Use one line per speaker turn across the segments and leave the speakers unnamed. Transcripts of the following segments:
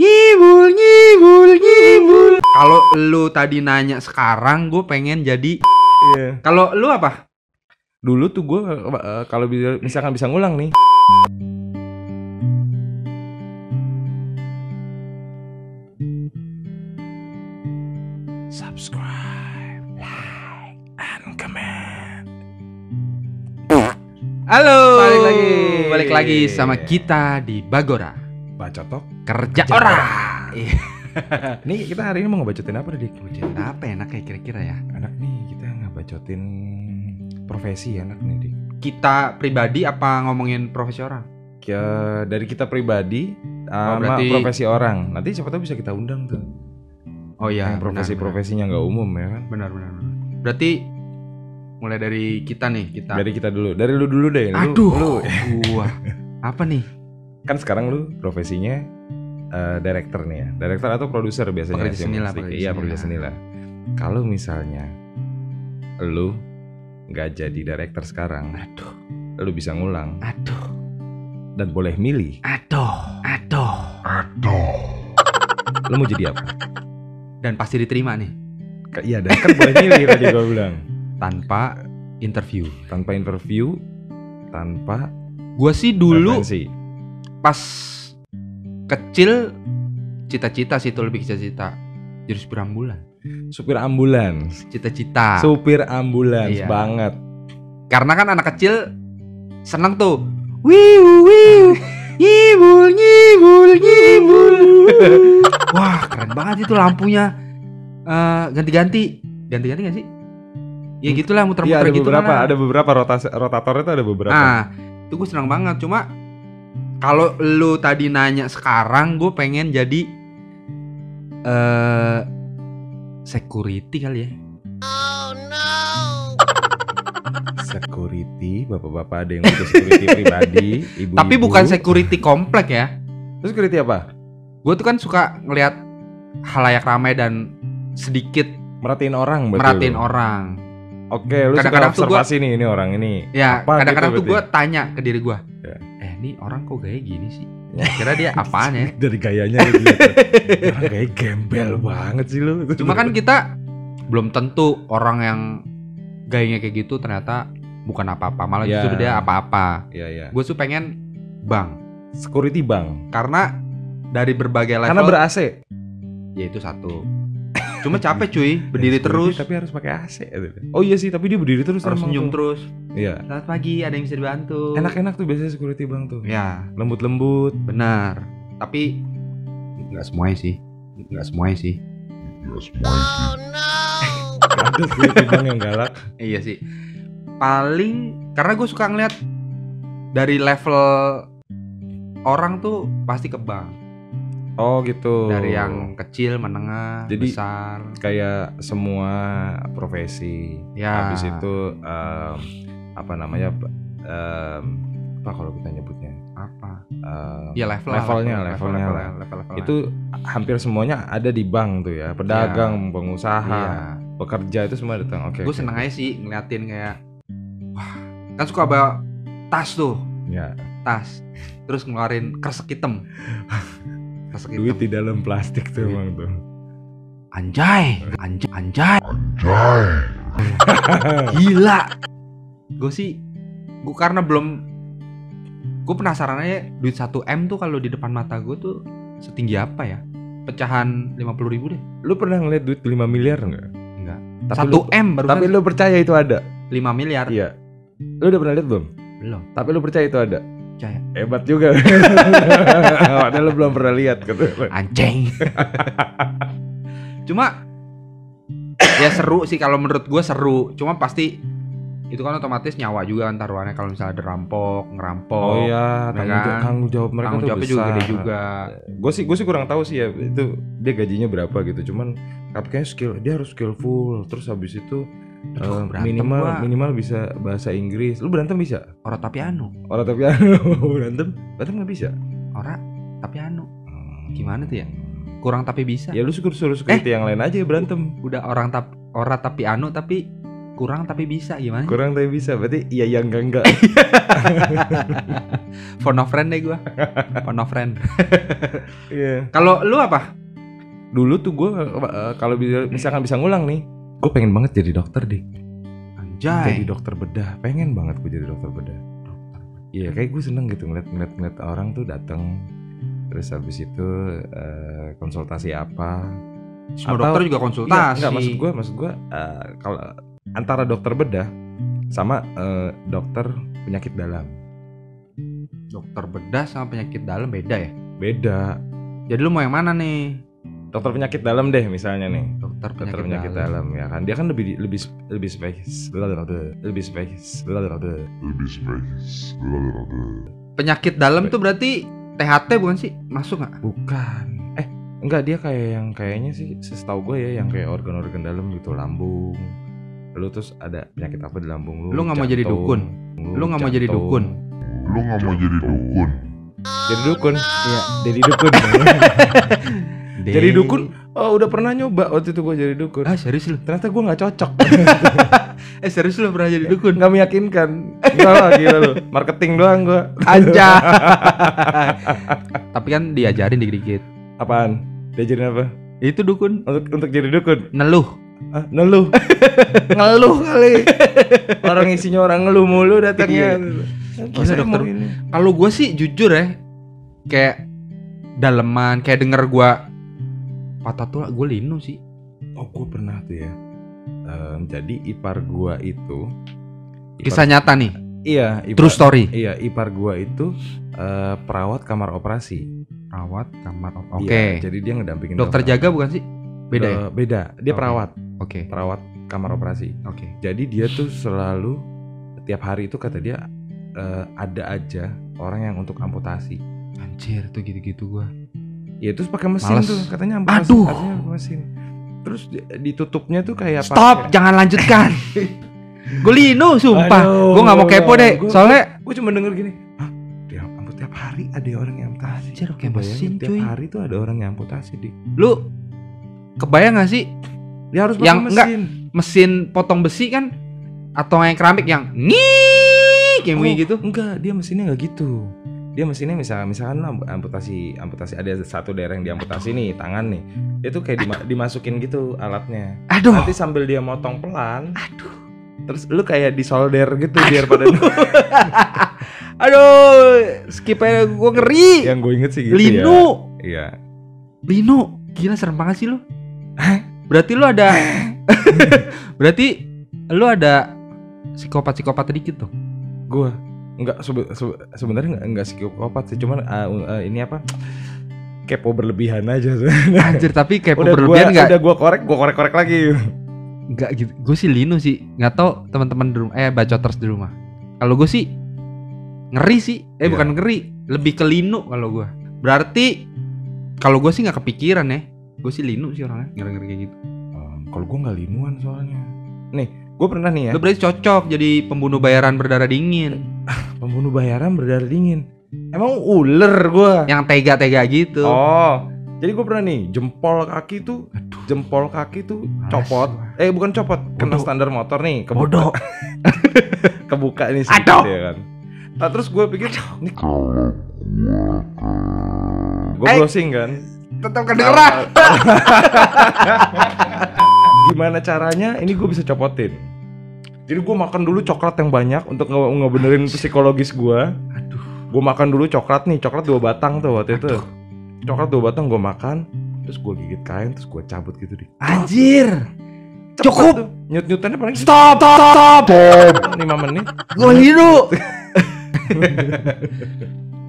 Ngibul, ngibul, ngibul. Kalau lu tadi nanya sekarang, gue pengen jadi.
Iya.
Kalau lu apa?
Dulu tuh gue eh, kalau bisa misalkan bisa ngulang nih. Subscribe, like, and comment.
Halo.
Balik lagi.
Balik lagi sama kita di Bagora.
Bacotok.
Kerja
Kerja
orang.
Nih kita hari ini mau ngebacotin apa dik?
Hujan apa enak ya kira-kira ya?
Anak nih kita ngebacotin profesi ya, anak nih dik.
Kita pribadi apa ngomongin profesi orang?
Ke- dari kita pribadi sama
berarti-
profesi orang. Nanti siapa tahu bisa kita undang tuh.
Oh iya,
yang profesi-profesinya nggak umum ya kan.
Benar, benar, benar. Berarti mulai dari kita nih, kita.
Dari kita dulu, dari lu dulu deh. Lu,
Aduh,
lu
gua. Apa nih?
kan sekarang lu profesinya eh director nih ya, director atau produser biasanya.
Pekerja
sih,
seni lah,
mesti.
pekerja
Iya
seni
pekerja
lah.
seni lah. Kalau misalnya lu nggak jadi director sekarang,
Aduh,
lu bisa ngulang
aduh,
dan boleh milih.
aduh, aduh.
Lu mau jadi apa?
Dan pasti diterima nih
Ka- Iya, dan kan boleh milih tadi gua bilang.
tanpa interview.
Tanpa interview, tanpa
Gua sih dulu
referensi.
pas kecil cita-cita sih itu lebih cita-cita jadi supir ambulan.
supir ambulans,
Cita-cita.
supir ambulans
Ah. Iya.
banget.
Karena kan anak kecil seneng tuh. Wiu wiu. Ngibul ngibul ngibul. Wah, keren banget itu lampunya. Eh, ganti-ganti. Ganti-ganti gak sih? Ya gitulah
Iya
muter-muter
ada
gitu
beberapa,
lah.
ada beberapa rotas rotatornya tuh ada beberapa.
Nah, itu gue senang banget. Cuma kalau lu tadi nanya sekarang, gue pengen jadi eh security kali ya.
Security, bapak-bapak ada yang butuh security pribadi, ibu
Tapi bukan security komplek ya.
Terus security apa?
Gue tuh kan suka ngelihat halayak ramai dan sedikit
Merhatiin orang betul.
merhatiin orang.
Oke,
Kadang-kadang
lu kadang-kadang
tuh gua-
observasi nih ini orang ini.
Ya,
Apa
kadang-kadang
gitu
tuh gue
berarti?
tanya ke diri gue,
Ya.
eh ini orang kok gaya gini sih? Kira dia apaan ya?
Dari gayanya lu gitu. orang kayak gembel banget sih lu.
Cuma kan kita belum tentu orang yang gayanya kayak gitu ternyata bukan apa-apa, malah
Ya.
justru dia apa-apa.
Iya, iya.
gue tuh pengen bank
Security bang.
karena dari berbagai level
Karena ber AC.
ya itu satu cuma capek cuy berdiri
Security
terus
Iya, Tapi harus pakai AC. Oh iya sih, tapi dia berdiri terus
harus
emang
senyum
tuh.
terus
Iya.
selamat pagi ada yang bisa dibantu
Enak-enak tuh biasanya security bang tuh.
ya
Lembut-lembut.
benar tapi nggak semuanya sih nggak semuanya sih
Ada security bang yang galak.
iya sih paling karena gue suka ngeliat dari level orang tuh pasti ke bank
Oh gitu.
dari yang kecil menengah
Jadi-
besar
kayak semua profesi.
ya
Habis itu em, apa namanya? em, apa kalau kita nyebutnya?
apa
Em,
ya level
Levelnya,
lah, level,
levelnya
level,
lah.
level, level, level.
itu hampir semuanya ada di bank tuh ya. Pedagang, pengusaha,
Iya.
pekerja itu semua datang. Oke.
gue
oke.
seneng aja sih ngeliatin kayak wah kan suka bawa tas tuh
Ya,
tas terus ngeluarin kresek hitam kresek hitam
duit di dalam plastik tuh
Duit.
emang tuh.
anjay anjay anjay gila gue sih gue karena belum gue penasaran aja duit 1 m tuh kalau di depan mata gue tuh setinggi apa ya pecahan 50.000 ribu deh
Lu pernah ngeliat duit 5 miliar enggak?
enggak
Tapi
satu
lu,
m baru
tapi lu percaya itu ada?
5 miliar
Iya. Lu udah pernah lihat belum?
belum
Tapi lu percaya itu ada?
Percaya.
Hebat juga. Padahal lu belum pernah lihat gitu.
anjing cuma ya seru sih kalau menurut gue seru cuma pasti itu kan otomatis nyawa juga kan taruhannya kalau misalnya ada rampok ngerampok
Oh
ya
iya,
kan?
tanggung, jawab, tanggung jawab mereka
tanggung
tuh
jawabnya
besar. Eh,
juga gede juga
Gue sih, gue sih kurang tahu sih ya itu dia gajinya berapa gitu. Cuman kayaknya skill dia harus skillful. Terus habis itu
Aduh,
eh,
berantem
minimal
gua.
minimal bisa bahasa Inggris. Lu berantem bisa?
ora tapi anu
Orang tapi berantem, berantem nggak bisa.
ora tapi anu Gimana tuh ya? Eh! kurang
Iya.
tapi bisa
Ya lu suruh suruh security yang lain aja ya berantem.
udah orang tap ora tapi anu tapi kurang tapi bisa gimana?
Kurang tapi bisa. Berarti iya yang enggak enggak.
Eh! Phone of friend deh gua. Phone of friend.
Iya.
Kalau lu apa?
Dulu tuh gue kalau bisa misalkan bisa ngulang nih, gue pengen banget jadi dokter deh. Jadi
Anjay.
dokter bedah. Pengen banget gue jadi dokter bedah. Iya, kayak gue seneng gitu ngeliat ngeliat ngeliat orang tuh datang terus habis itu eh, konsultasi apa
Semua
Atau-
dokter juga
Iya,
konsultasi.
enggak maksud gue, maksud gue eh, kalau antara dokter bedah sama eh, dokter penyakit dalam
Dokter bedah sama penyakit dalam beda ya.
beda.
Jadi lu mau yang mana nih?
Dokter penyakit dalam deh misalnya nih.
Dokter penyakit,
Dokter penyakit
dalam.
dalam. ya kan dia kan lebih lebih lebih spesies lebih spesies
Lebih spesies.
Penyakit dalam tuh berarti THT bukan sih? Masuk nggak?
bukan eh enggak dia kayak yang kayaknya sih setahu gue ya yang kayak organ-organ dalam gitu lambung lu terus ada penyakit apa di lambung lu
Lu nggak mau jadi
jantung,
dukun? Lu nggak mau jadi
jantung.
dukun?
Lu nggak mau jadi dukun?
jadi dukun iya jadi dukun Jadi dukun? oh udah pernah nyoba waktu itu gue jadi dukun
Ah serius lu?
ternyata gue nggak cocok
Eh serius lu pernah jadi dukun?
nggak meyakinkan Enggak lah gila lu marketing doang gue
Aja. Tapi kan diajarin dikit-dikit.
apaan diajarin apa
Itu dukun
untuk untuk jadi dukun
neluh.
ah, ngeluh ngeluh kali orang isinya orang ngeluh mulu datangnya
Gila, dokter. Iya. Kalau gue sih jujur ya, kayak daleman, kayak denger gue patah tulang, gue linu sih.
oh gue pernah tuh ya Em, jadi ipar gua itu ipar-
Kisah nyata nih,
iya ipar,
true story.
iya ipar gua itu eh, perawat kamar operasi
Perawat kamar op- Oke.
Iya, jadi dia ngedampingin
Dokter jaga bukan sih? Beda ya?
Eh, beda dia
Oke.
perawat
Oke.
perawat kamar operasi
Oke.
jadi dia tuh selalu tiap hari itu kata dia eh, ada aja orang yang untuk amputasi
Anjir, tuh gitu-gitu gua.
Ya terus pakai mesin
Males.
tuh katanya amputasi,
Aduh.
katanya pakai mesin. Terus di- ditutupnya tuh kayak
Stop,
pakai-
jangan lanjutkan. gue linu sumpah.
Aduh,
Gue nggak mau kepo deh,
gua-
soalnya
gua cuma denger gini, "Hah, dia amput tiap hari ada orang yang amputasi."
Anjir, pakai
Lu bayangin,
mesin,
tiap
cuy.
hari tuh ada orang yang amputasi, Dik.
lu kebayang gak sih
Dia harus
Yang
pakai
enggak,
mesin.
mesin potong besi kan atau yang keramik yang ngik yang bunyi
Oh,
gitu?
Enggak, dia mesinnya enggak gitu. Dia mesinnya misalkan misalkan lah amputasi amputasi ada satu daerah yang diamputasi nih, tangan nih. Itu kayak dima- dimasukin gitu alatnya.
Aduh.
Nanti sambil dia motong pelan. Aduh. Terus lu kayak disolder gitu biar pada
Aduh, skip aja gue ngeri.
yang gue inget sih gitu
Linu,
ya. Iya.
Linu, gila serem banget sih lu. Berarti lu ada, berarti lu ada psikopat-psikopat dikit tuh.
Gue nggak sebe- sebe- sebenarnya nggak nggak psikopat sih, cuman ah, eh, ini apa? Kepo berlebihan aja.
Anjir, tapi kayak
udah gua
berlebihan nggak?
udah gua korek, gua korek-korek lagi.
Nggak gitu. Gue sih Linu sih, nggak tau teman-teman di rumah, eh bacoters di rumah. Kalau gue sih ngeri sih, eh
Iya.
bukan ngeri, lebih ke Linu kalau gue. Berarti kalau gue sih nggak kepikiran ya. Gue sih Linu sih orangnya, ngeri-ngeri kayak gitu.
Kalau gua nggak linuan soalnya. Nih, gua pernah nih ya.
Lu berarti cocok jadi pembunuh bayaran berdarah dingin.
Pembunuh bayaran berdarah dingin. Emang ular gua.
yang tega-tega gitu.
Oh, jadi gue pernah nih jempol kaki tuh, jempol kaki tuh
Males
copot. Eh bukan copot, kena
Bodoh.
standar motor nih, kebuka,
Bodoh.
kebuka nih
Aduh.
sedikit ya kan. Nah, terus gue pikir, nih
Kalau gua
gue
Eh.
browsing kan.
Tetap kedengeran.
Gimana caranya? Ini gue bisa copotin. Jadi gue makan dulu coklat yang banyak untuk nge- ngebenerin psikologis gue.
Aduh.
Gue makan dulu coklat nih, coklat dua batang tuh waktu itu. Coklat dua batang gue makan, terus gue gigit kain, terus gue cabut gitu di.
Anjir.
Cepet
Cukup.
tuh. Nyut-nyutannya paling
Stop, stop, stop.
Top.
5 menit.
Gua hidup.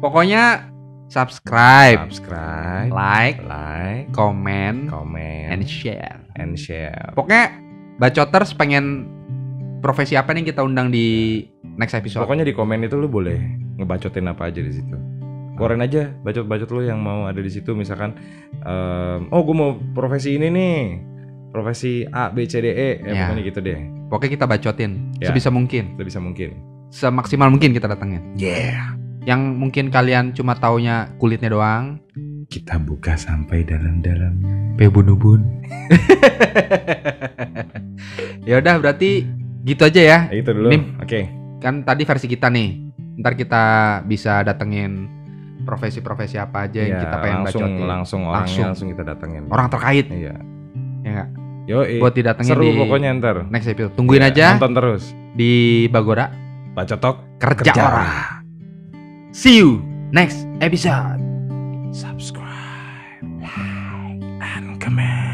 Pokoknya subscribe,
subscribe,
like,
like,
comment, and
comment,
share.
and share.
Pokoknya bacoters pengen profesi apa nih kita undang di next episode.
Pokoknya di komen itu lu boleh ngebacotin apa aja di situ. Koren aja bacot-bacot lu yang mau ada di situ misalkan em, oh gue mau profesi ini nih. Profesi A B C D E ya,
Ya.
pokoknya gitu deh.
Pokoknya kita bacotin
Ya.
sebisa mungkin,
Sebisa mungkin.
semaksimal mungkin kita datengin.
Yeah.
Yang mungkin kalian cuma taunya kulitnya doang,
Kita buka sampai dalam-dalam.
Pebunubun. ya udah berarti Gitu aja ya.
Eh, Itu dulu.
Nim.
Oke.
Kan tadi versi kita nih. Ntar kita bisa datengin profesi-profesi apa aja yang
Ya,
kita pengen
langsung
bacotin.
langsung orangnya
Langsung.
langsung, kita datengin.
Orang terkait
Iya.
Ya nggak?
Yo,
buat didatengin
seru
di
pokoknya ntar.
next episode. Tungguin
Iya,
aja
Nonton terus.
di Bagora
Bacotok.
kerja,
Kerja.
orang. See you next episode.
Subscribe, like, and comment.